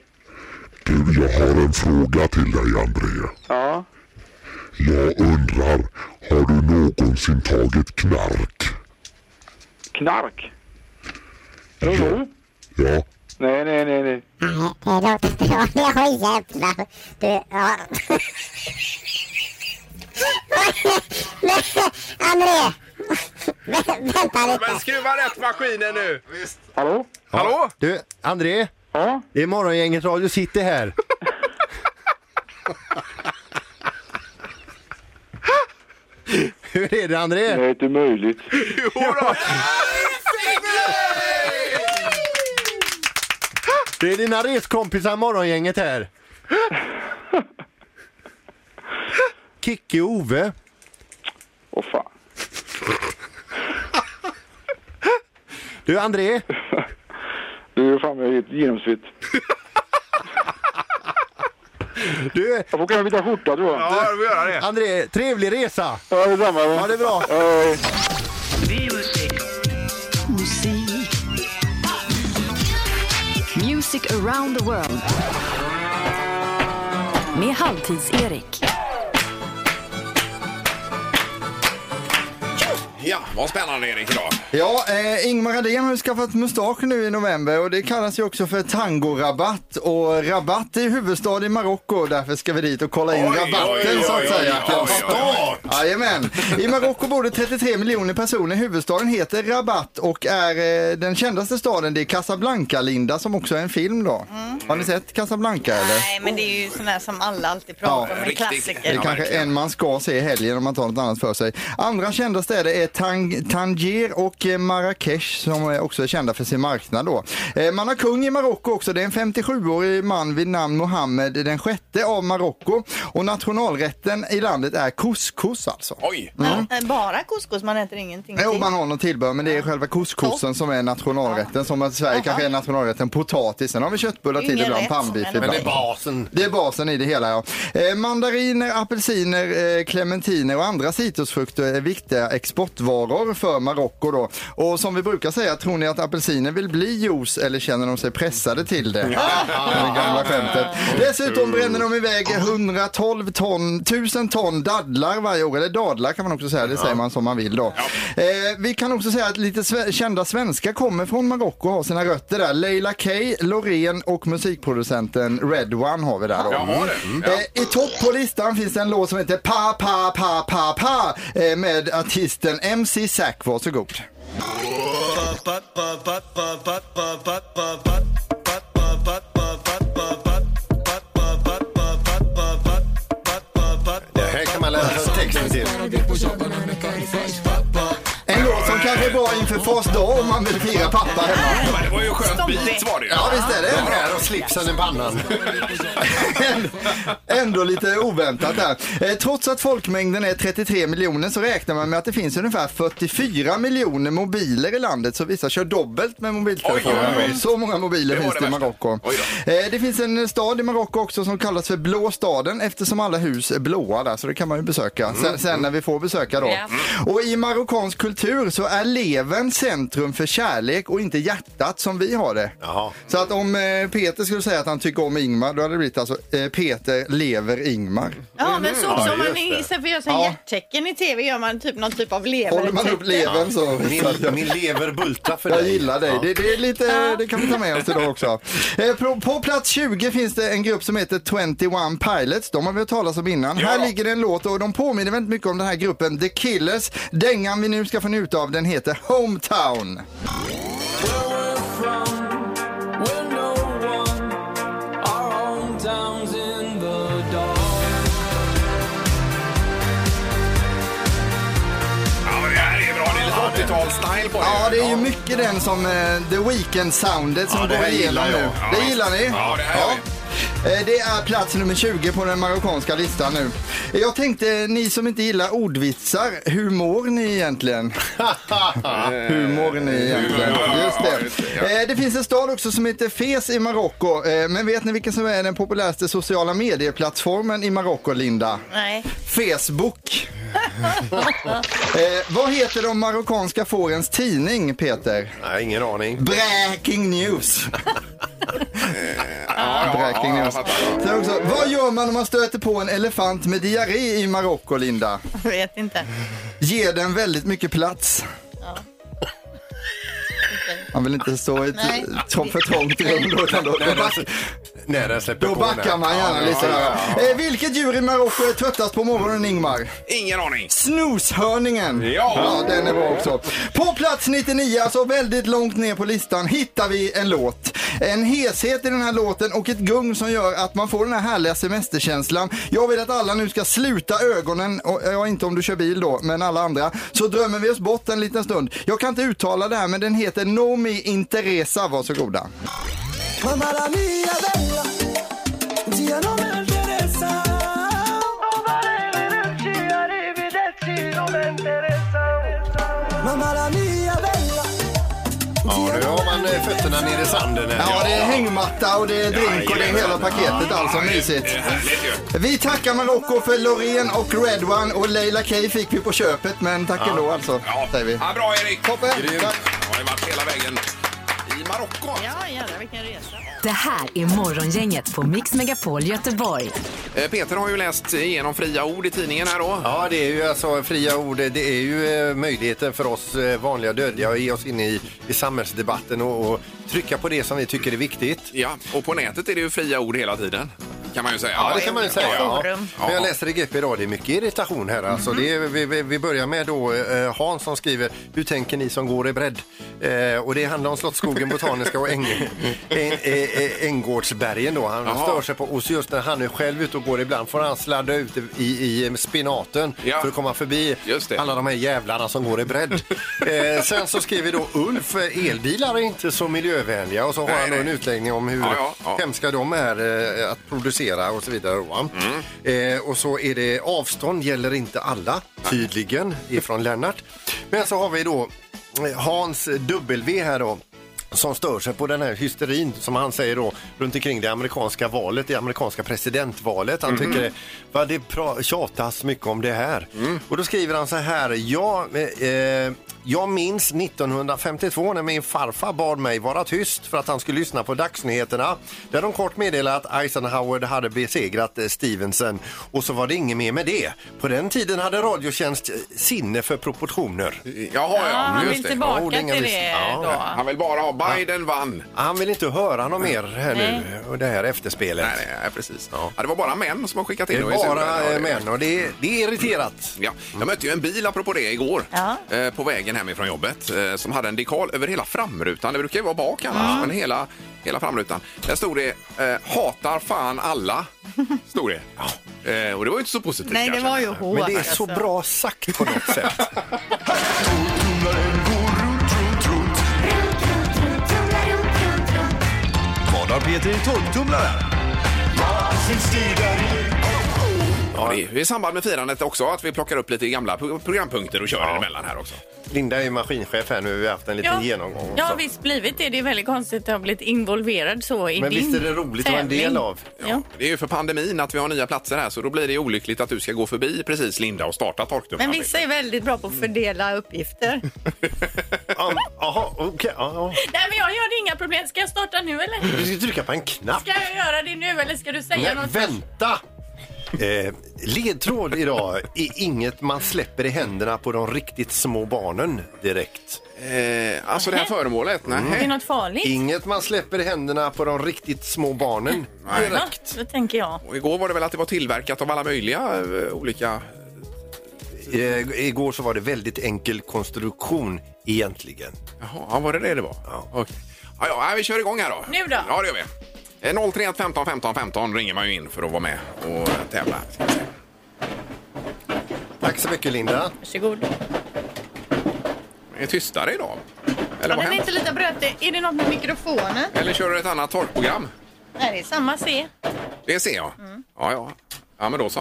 Speaker 12: Du, jag har en fråga till dig André.
Speaker 13: Ja.
Speaker 12: Jag undrar, har du någonsin tagit knark?
Speaker 13: Knark? Eller vad sa du?
Speaker 12: Ja,
Speaker 13: Nej, nej, nej, nej.
Speaker 14: Nej, det låter bra. Ja, jävlar. Du, ja. Men, André. Vä- Vänta lite.
Speaker 2: Men skruva rätt maskinen nu! Visst.
Speaker 13: Hallå?
Speaker 2: Hallå?
Speaker 3: Du, André?
Speaker 13: Ja?
Speaker 3: Det är Morgongänget Radio City här. Hur är det André?
Speaker 13: Det är inte möjligt.
Speaker 3: Det är dina reskompisar Morgongänget här. Kicke och Ove.
Speaker 13: Åh fan.
Speaker 3: Du André?
Speaker 13: Du är fan jag är helt genomsvett.
Speaker 3: Du... Jag
Speaker 13: får kanske byta skjorta tror jag.
Speaker 2: Ja, du får göra det.
Speaker 3: André, trevlig resa!
Speaker 13: Ja, detsamma.
Speaker 3: Ha det bra!
Speaker 1: Musik. Music around the world. Med Halvtids-Erik.
Speaker 2: Ja, vad spännande Erik idag.
Speaker 7: Ja, eh, Ingmar Adén har ju skaffat mustasch nu i november och det kallas ju också för tangorabatt och rabatt är huvudstad i Marocko därför ska vi dit och kolla in rabatten så att säga. Jajamän. I Marocko bor det 33 miljoner personer. Huvudstaden heter Rabat och är eh, den kändaste staden. Det är Casablanca, Linda, som också är en film då. Har ni sett Casablanca eller?
Speaker 4: Mm. Nej, men det är ju sån där som alla alltid pratar om, en
Speaker 7: Det
Speaker 4: klassiker.
Speaker 7: är kanske en man ska se i helgen om man tar något annat för sig. Andra kända städer är Tang- Tangier och eh, Marrakesh som eh, också är kända för sin marknad då. Eh, Man har kung i Marocko också. Det är en 57-årig man vid namn Mohammed den sjätte av Marocko och nationalrätten i landet är couscous alltså.
Speaker 2: Oj!
Speaker 7: Mm.
Speaker 4: Eh, Bara couscous, man äter ingenting
Speaker 7: Jo,
Speaker 4: till.
Speaker 7: man har något tillbehör, men det är själva couscousen som är nationalrätten. Som att Sverige kanske är nationalrätten potatis. Sen har vi köttbullar till
Speaker 3: Ingen
Speaker 7: ibland,
Speaker 3: rätt
Speaker 7: pannbiff
Speaker 3: som är
Speaker 7: ibland.
Speaker 3: Men det är basen.
Speaker 7: Det är basen i det hela, ja. Eh, mandariner, apelsiner, eh, clementiner och andra citrusfrukter är viktiga exportvaror för Marocko då. Och som vi brukar säga, tror ni att apelsiner vill bli juice eller känner de sig pressade till det? Det gamla skämtet. Dessutom bränner de iväg 112 ton, 1000 ton dadlar varje år, eller dadlar kan man också säga, det säger man som man vill då. Eh, vi kan också säga att lite sve- kända svenskar kommer från Marocko och har sina rötter där. Leila K, Loreen och musikproducenten Red One har vi där då.
Speaker 2: Ja, har det.
Speaker 7: Mm.
Speaker 2: Ja.
Speaker 7: Eh, I topp på listan finns det en låt som heter Pa Pa Pa Pa Pa eh, med artisten MC Sack, varsågod.
Speaker 3: Det här kan man läsa texten till.
Speaker 7: En låt som kanske är bra inför fars dag om man vill fira pappa hemma.
Speaker 2: Men det var ju skönt bit var det ju.
Speaker 7: Ja, visst är det.
Speaker 3: Här och slipsen i pannan.
Speaker 7: Ändå lite oväntat där. Eh, trots att folkmängden är 33 miljoner så räknar man med att det finns ungefär 44 miljoner mobiler i landet så vissa kör dubbelt med mobiltelefoner.
Speaker 2: Oj, oj, oj.
Speaker 7: Så många mobiler
Speaker 2: Det var
Speaker 7: finns
Speaker 2: det
Speaker 7: det i
Speaker 2: värsta.
Speaker 7: Marocko. Eh, det finns en stad i Marocko också som kallas för Blå staden eftersom alla hus är blåa där så det kan man ju besöka sen, sen när vi får besöka då.
Speaker 15: Ja.
Speaker 7: Och i marockansk kultur så är levern centrum för kärlek och inte hjärtat som vi har det. Så att om eh, Peter skulle säga att han tycker om Ingmar, då hade det blivit alltså eh, Peter lever Ingmar.
Speaker 4: Mm. Ja, men så också. om man
Speaker 7: just det.
Speaker 4: istället för att göra sån hjärttecken i tv gör man typ någon typ av lever.
Speaker 7: Håller man upp levern så...
Speaker 3: Min, min lever bultar för
Speaker 7: Jag
Speaker 3: dig.
Speaker 7: gillar dig.
Speaker 3: Ja.
Speaker 7: Det, det, är lite, det kan vi ta med oss idag också. Eh, på, på plats 20 finns det en grupp som heter 21 Pilots. De har vi hört talas om innan. Här ligger det en låt och de påminner väldigt mycket om den här gruppen The Killers. Dängan vi nu ska få njuta av den heter Hometown.
Speaker 2: Ja, men det här är bra. Det är lite 80-tals-style på det.
Speaker 7: Ja, det är ju mycket den som eh, The Weeknd-soundet som
Speaker 2: Ja, det
Speaker 7: går
Speaker 2: här
Speaker 7: igenom
Speaker 2: gillar jag.
Speaker 7: nu.
Speaker 2: Ja,
Speaker 7: det
Speaker 2: visst.
Speaker 7: gillar ni?
Speaker 2: Ja, det här gör
Speaker 7: Eh, Det är plats nummer 20 på den marockanska listan nu. Eh, Jag tänkte, ni som inte gillar ordvitsar, hur mår ni egentligen? hur mår ni egentligen? Just det. Eh, Det finns en stad också som heter Fes i Marocko. Eh, Men vet ni vilken som är den populäraste sociala medieplattformen i Marocko, Linda?
Speaker 4: Nej.
Speaker 7: Facebook. eh, vad heter de marockanska fårens tidning, Peter?
Speaker 3: Nej, ingen aning.
Speaker 7: Breaking news. Breaking
Speaker 2: ja,
Speaker 7: news. Sen också, vad gör man om man stöter på en elefant med diarré i Marocko, Linda?
Speaker 4: Jag vet inte.
Speaker 7: Ger den väldigt mycket plats? Man vill inte stå i ett
Speaker 4: Nej.
Speaker 7: trång- för trångt rum då, utan då, då,
Speaker 3: Nej,
Speaker 7: back,
Speaker 3: den- Nej, den släpper
Speaker 7: då
Speaker 3: på den.
Speaker 7: backar man gärna
Speaker 3: Ja,
Speaker 7: lite.
Speaker 3: ja,
Speaker 7: där.
Speaker 3: ja, ja.
Speaker 7: Eh, vilket djur i Marocko är eh, tröttast på morgonen, Ingmar?
Speaker 2: Ingen aning.
Speaker 7: Snoshörningen.
Speaker 2: Ja.
Speaker 7: den är bra också. På plats 99, alltså väldigt långt ner på listan, hittar vi en låt. En heshet i den här låten och ett gung som gör att man får den här härliga semesterkänslan. Jag vill att alla nu ska sluta ögonen, och, ja inte om du kör bil då, men alla andra. Så drömmer vi oss bort en liten stund. Jag kan inte uttala det här men den heter Nomi Interesa, varsågoda.
Speaker 15: Mamma la mia bella, dia non mi interessa. Mamma la mia bella.
Speaker 3: Ja, nu har man eh, fötterna nere i sanden. här.
Speaker 7: Ja, det är hängmatta och det är drink och det är hela paketet alltså. Mysigt. Vi tackar Marocko för Loreen och Red One och Leila K fick vi på köpet men tack
Speaker 2: Ja.
Speaker 7: ändå alltså. Säger vi.
Speaker 2: Ja, bra Erik!
Speaker 7: Toppen!
Speaker 2: Tack. Jag har ju varit hela vägen i Marocko.
Speaker 4: Ja, jävlar vilken resa.
Speaker 1: Det här är Morgongänget på Mix Megapol Göteborg.
Speaker 2: Eh, Peter har ju läst igenom fria ord i tidningen här då.
Speaker 3: Ja, det är ju alltså fria ord. Det är ju eh, möjligheten för oss eh, vanliga dödliga att ge oss in i, i samhällsdebatten och, och trycka på det som vi tycker är viktigt.
Speaker 2: Ja, och på nätet är det ju fria ord hela tiden. Kan man ju säga.
Speaker 3: Ja, det kan man ju säga. Ja. Men Jag
Speaker 2: Ja.
Speaker 3: läser i GP idag, det är mycket irritation här. Alltså,
Speaker 2: Mhm.
Speaker 3: det är, vi, vi- vi börjar med då eh, Hans som skriver, hur tänker ni som går i bredd? Eh, och det handlar om Slottsskogen, Botaniska och Äng, Äng, Äng, Änggårdsbergen då. Han
Speaker 2: Jaha.
Speaker 3: stör sig på, och så just när han är själv ute och går ibland får han sladda ut i, i spinaten
Speaker 2: Ja.
Speaker 3: för att komma förbi
Speaker 2: Just det.
Speaker 3: alla de här jävlarna som går i bredd. eh, sen så skriver då Ulf, eh, elbilar är inte så miljövänliga och så har
Speaker 2: Nej,
Speaker 3: han då
Speaker 2: nej.
Speaker 3: en utläggning om hur
Speaker 2: Ja, ja, ja.
Speaker 3: hemska de är eh, att producera och så vidare. va? Eh, och så är det avstånd gäller inte alla, tydligen, ifrån Lennart. Men så har vi då eh, Hans W här då som stör sig på den här hysterin som han säger då runt omkring det amerikanska valet, det amerikanska presidentvalet. Han tycker det, va, det pra- tjatas mycket om det här.
Speaker 2: Mm.
Speaker 3: Och då skriver han så här, ja, eh, eh, jag minns 1952 när min farfar bad mig vara tyst för att han skulle lyssna på dagsnyheterna. Där de kort meddelade att Eisenhower hade besegrat eh, Stevenson och så var det inget mer med det. På den tiden hade Radiotjänst eh, sinne för proportioner.
Speaker 2: Jaha,
Speaker 4: Ja,
Speaker 2: ja.
Speaker 4: han
Speaker 2: Just
Speaker 4: vill
Speaker 2: det.
Speaker 4: tillbaka
Speaker 2: Ja, det är ingen
Speaker 4: till
Speaker 2: visst.
Speaker 4: det
Speaker 2: Ja.
Speaker 4: då.
Speaker 2: Han vill bara ha Biden vann.
Speaker 3: Han vill inte höra något mer här
Speaker 4: Nej.
Speaker 3: nu, och det här efterspelet.
Speaker 2: Nej, nej, nej, precis. Ja. det var bara män som har skickat
Speaker 3: Det
Speaker 2: in.
Speaker 3: är
Speaker 2: då i surren.
Speaker 3: bara
Speaker 2: Ja,
Speaker 3: eh,
Speaker 2: det- Mm.
Speaker 3: män och det är, det är irriterat.
Speaker 2: Ja. Jag mötte ju en bil, apropå det, igår eh, på vägen hemifrån jobbet eh, som hade en dekal över hela framrutan. Det brukar ju vara bak annars, men hela, hela framrutan. Där stod det eh, “Hatar fan alla”. Stod det. Eh, och det var ju inte så positivt
Speaker 4: Nej, det
Speaker 2: kanske.
Speaker 4: var ju hårt. alltså.
Speaker 3: Men det är så bra sagt på något sätt.
Speaker 16: Vad har Peter i tolvtumlaren?
Speaker 2: Ja, det är ju i samband med firandet också att vi plockar upp lite gamla pro- programpunkter och kör emellan här också.
Speaker 3: Linda är ju maskinchef här nu. Vi har haft en liten genomgång.
Speaker 4: Ja,
Speaker 3: också.
Speaker 4: visst blivit det. Det är väldigt konstigt att ha blivit involverad så i
Speaker 3: Men
Speaker 4: din
Speaker 3: visst är det roligt att vara en del
Speaker 4: tävling.
Speaker 3: av?
Speaker 4: Ja.
Speaker 2: Det är ju för pandemin att vi har nya platser här så då blir det olyckligt att du ska gå förbi precis Linda och starta
Speaker 4: Men
Speaker 2: torktumlaren.
Speaker 4: vissa är väldigt bra på att fördela uppgifter.
Speaker 3: Jaha, okej. ja, ja.
Speaker 4: Nej, men jag gör inga problem. Ska jag starta nu eller?
Speaker 3: Du ska trycka på en knapp.
Speaker 4: Ska jag göra det nu eller ska du säga
Speaker 3: Men
Speaker 4: något?
Speaker 3: vänta! Eh, ledtråd idag är inget man släpper i händerna på de riktigt små barnen direkt. Mm.
Speaker 2: Eh, alltså det här föremålet? Nej.
Speaker 4: Är det något farligt?
Speaker 3: Inget man släpper i händerna på de riktigt små barnen.
Speaker 4: Ja, då tänker jag.
Speaker 2: Och igår var det väl att det var tillverkat av alla möjliga eh, olika...
Speaker 3: Eh, Igår så var det väldigt enkel konstruktion egentligen.
Speaker 2: Jaha, ja, var det det det var? Ja. Okej. Ja, ja, vi kör igång här då.
Speaker 4: Nu då?
Speaker 2: Ja, det gör vi. Eh, 031 15 15 15 ringer man ju in för att vara med och tävla. Ska vi se.
Speaker 3: Tack så mycket Linda.
Speaker 4: Varsågod.
Speaker 2: Det är tystare idag.
Speaker 4: Ja,
Speaker 2: Eller vad
Speaker 4: den är
Speaker 2: händer?
Speaker 4: inte lite brötig. Är det något med mikrofonen?
Speaker 2: Eller kör du ett annat torkprogram?
Speaker 4: Nej, det är samma C.
Speaker 2: Det ser jag.
Speaker 4: Mm.
Speaker 2: Ja, ja. Ja, men då så.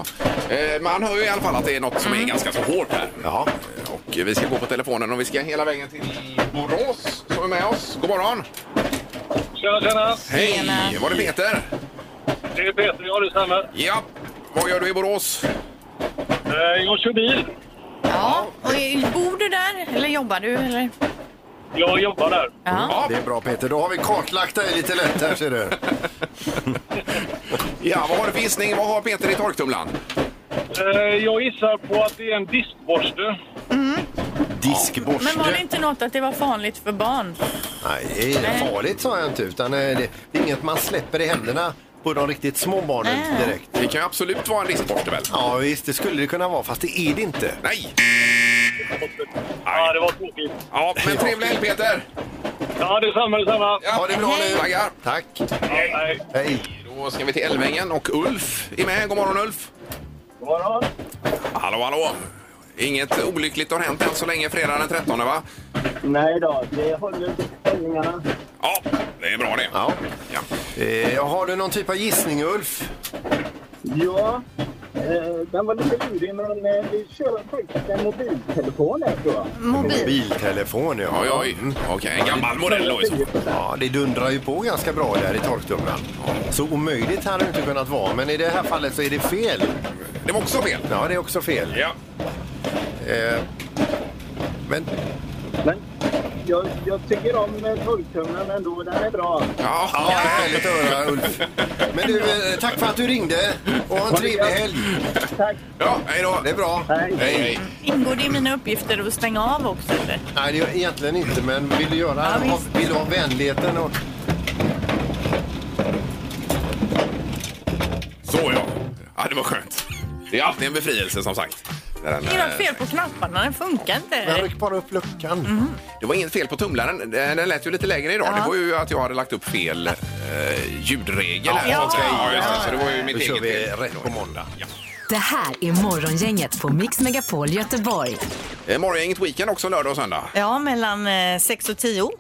Speaker 2: Eh, man hör ju i alla fall att det är något
Speaker 4: Mm.
Speaker 2: som är ganska så hårt här. Eh,
Speaker 3: Ja.
Speaker 2: Och vi ska gå på telefonen och vi ska hela vägen till Borås som är med oss. God morgon!
Speaker 9: Tjena, tjena!
Speaker 2: Hej! Var det Peter?
Speaker 9: Det är Peter, ja det stämmer. Eh,
Speaker 2: Ja. Vad gör du i Borås?
Speaker 9: Jag kör bil.
Speaker 4: Ja, och är- bor du där eller jobbar du? Eller?
Speaker 9: Jag jobbar där.
Speaker 3: Det är bra Peter, då har vi kartlagt dig lite lätt här ser du.
Speaker 2: Ja, vad har du för gissning? Vad har Peter i torktumlaren?
Speaker 9: Eh, Jag gissar på att det är en diskborste.
Speaker 3: Diskborste.
Speaker 4: Men var det inte något att det var farligt för barn?
Speaker 3: Nej, det är
Speaker 4: Nej.
Speaker 3: farligt sa jag inte. Utan eh, det det är inget man släpper i händerna på de riktigt små barnen direkt.
Speaker 2: Det kan ju absolut vara en diskborste väl?
Speaker 3: Ja visst, det skulle det kunna vara. Fast det är det inte.
Speaker 2: Nej!
Speaker 9: Ja, det var tråkigt.
Speaker 2: Ja, men trevlig helg Peter!
Speaker 9: Ja, detsamma, detsamma.
Speaker 2: Ja.
Speaker 3: Ha det bra nu.
Speaker 2: Taggar!
Speaker 3: Tack.
Speaker 9: Hej.
Speaker 3: Hej.
Speaker 2: Då ska vi till Älvängen och Ulf är med. God morgon Ulf!
Speaker 9: God morgon.
Speaker 2: Hallå, hallå! Inget olyckligt har hänt än så länge fredag den 13 va?
Speaker 9: Nej då, det håller ställningarna.
Speaker 2: Ja, det är bra det.
Speaker 3: Ja.
Speaker 2: Ja.
Speaker 3: Eh, har du någon typ av gissning Ulf?
Speaker 9: Ja, eh, den var lite lurig men eh, vi kör faktiskt en mobiltelefon här tror jag.
Speaker 3: Mobiltelefon ja.
Speaker 2: Oj, oj.
Speaker 3: Mm.
Speaker 2: Okej, en gammal modell då i så fall.
Speaker 3: Ja, det dundrar ju på ganska bra där i torktumlaren. Så omöjligt hade det inte kunnat vara. Men i det här fallet så är det fel.
Speaker 2: Det var också fel.
Speaker 3: Ja, det är också fel.
Speaker 2: Ja.
Speaker 3: Eh, men
Speaker 9: Men jag, jag tycker om eh, torktumlaren ändå, den är bra.
Speaker 2: Ja,
Speaker 3: ja, det är härligt att höra Ulf. Men du, eh, tack för att du ringde och ha en trevlig helg.
Speaker 9: Tack.
Speaker 2: ja hej då!
Speaker 3: Det är bra.
Speaker 2: Hej!
Speaker 4: Ingår det i mina uppgifter att stänga av också? Eller?
Speaker 3: Nej, det är egentligen inte, men vill du göra
Speaker 4: Ja,
Speaker 3: ha, vill du ha vänligheten och...
Speaker 2: Så ja. ja, det var skönt. Det är alltid en befrielse som sagt. När den,
Speaker 4: Det är något
Speaker 2: eh,
Speaker 4: fel på knapparna, den funkar
Speaker 3: Jag
Speaker 4: inte. Mhm.
Speaker 3: ryck bara upp luckan.
Speaker 2: det var inget fel på tumlaren. Den den lät ju lite lägre idag. Det var ju att jag hade lagt upp fel eh, ljudregel. här,
Speaker 4: Ja.
Speaker 2: så att säga. ja, just det. Så det var ju
Speaker 3: Då
Speaker 2: mitt
Speaker 3: kör
Speaker 2: eget
Speaker 3: vi
Speaker 2: fel.
Speaker 3: rätt på måndag.
Speaker 2: Ja.
Speaker 1: Det här är Morgongänget på Mix Megapol Göteborg.
Speaker 2: Eh, Morgongänget Weekend också lördag och söndag.
Speaker 4: Ja, mellan 6 och 10.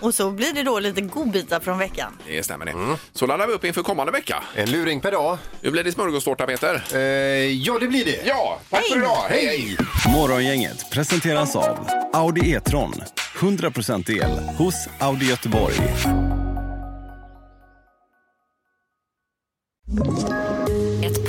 Speaker 4: Och så blir det då lite godbitar från veckan.
Speaker 2: Det stämmer det. Så laddar vi upp inför kommande vecka.
Speaker 3: Mm. En luring per dag.
Speaker 2: Nu blir det smörgåstårta, Peter.
Speaker 3: Eh, ja, det blir det.
Speaker 2: Ja, tack för idag. Hej, hej!
Speaker 16: Morgongänget presenteras av Audi E-tron. 100% el hos Audi Göteborg.
Speaker 17: Ett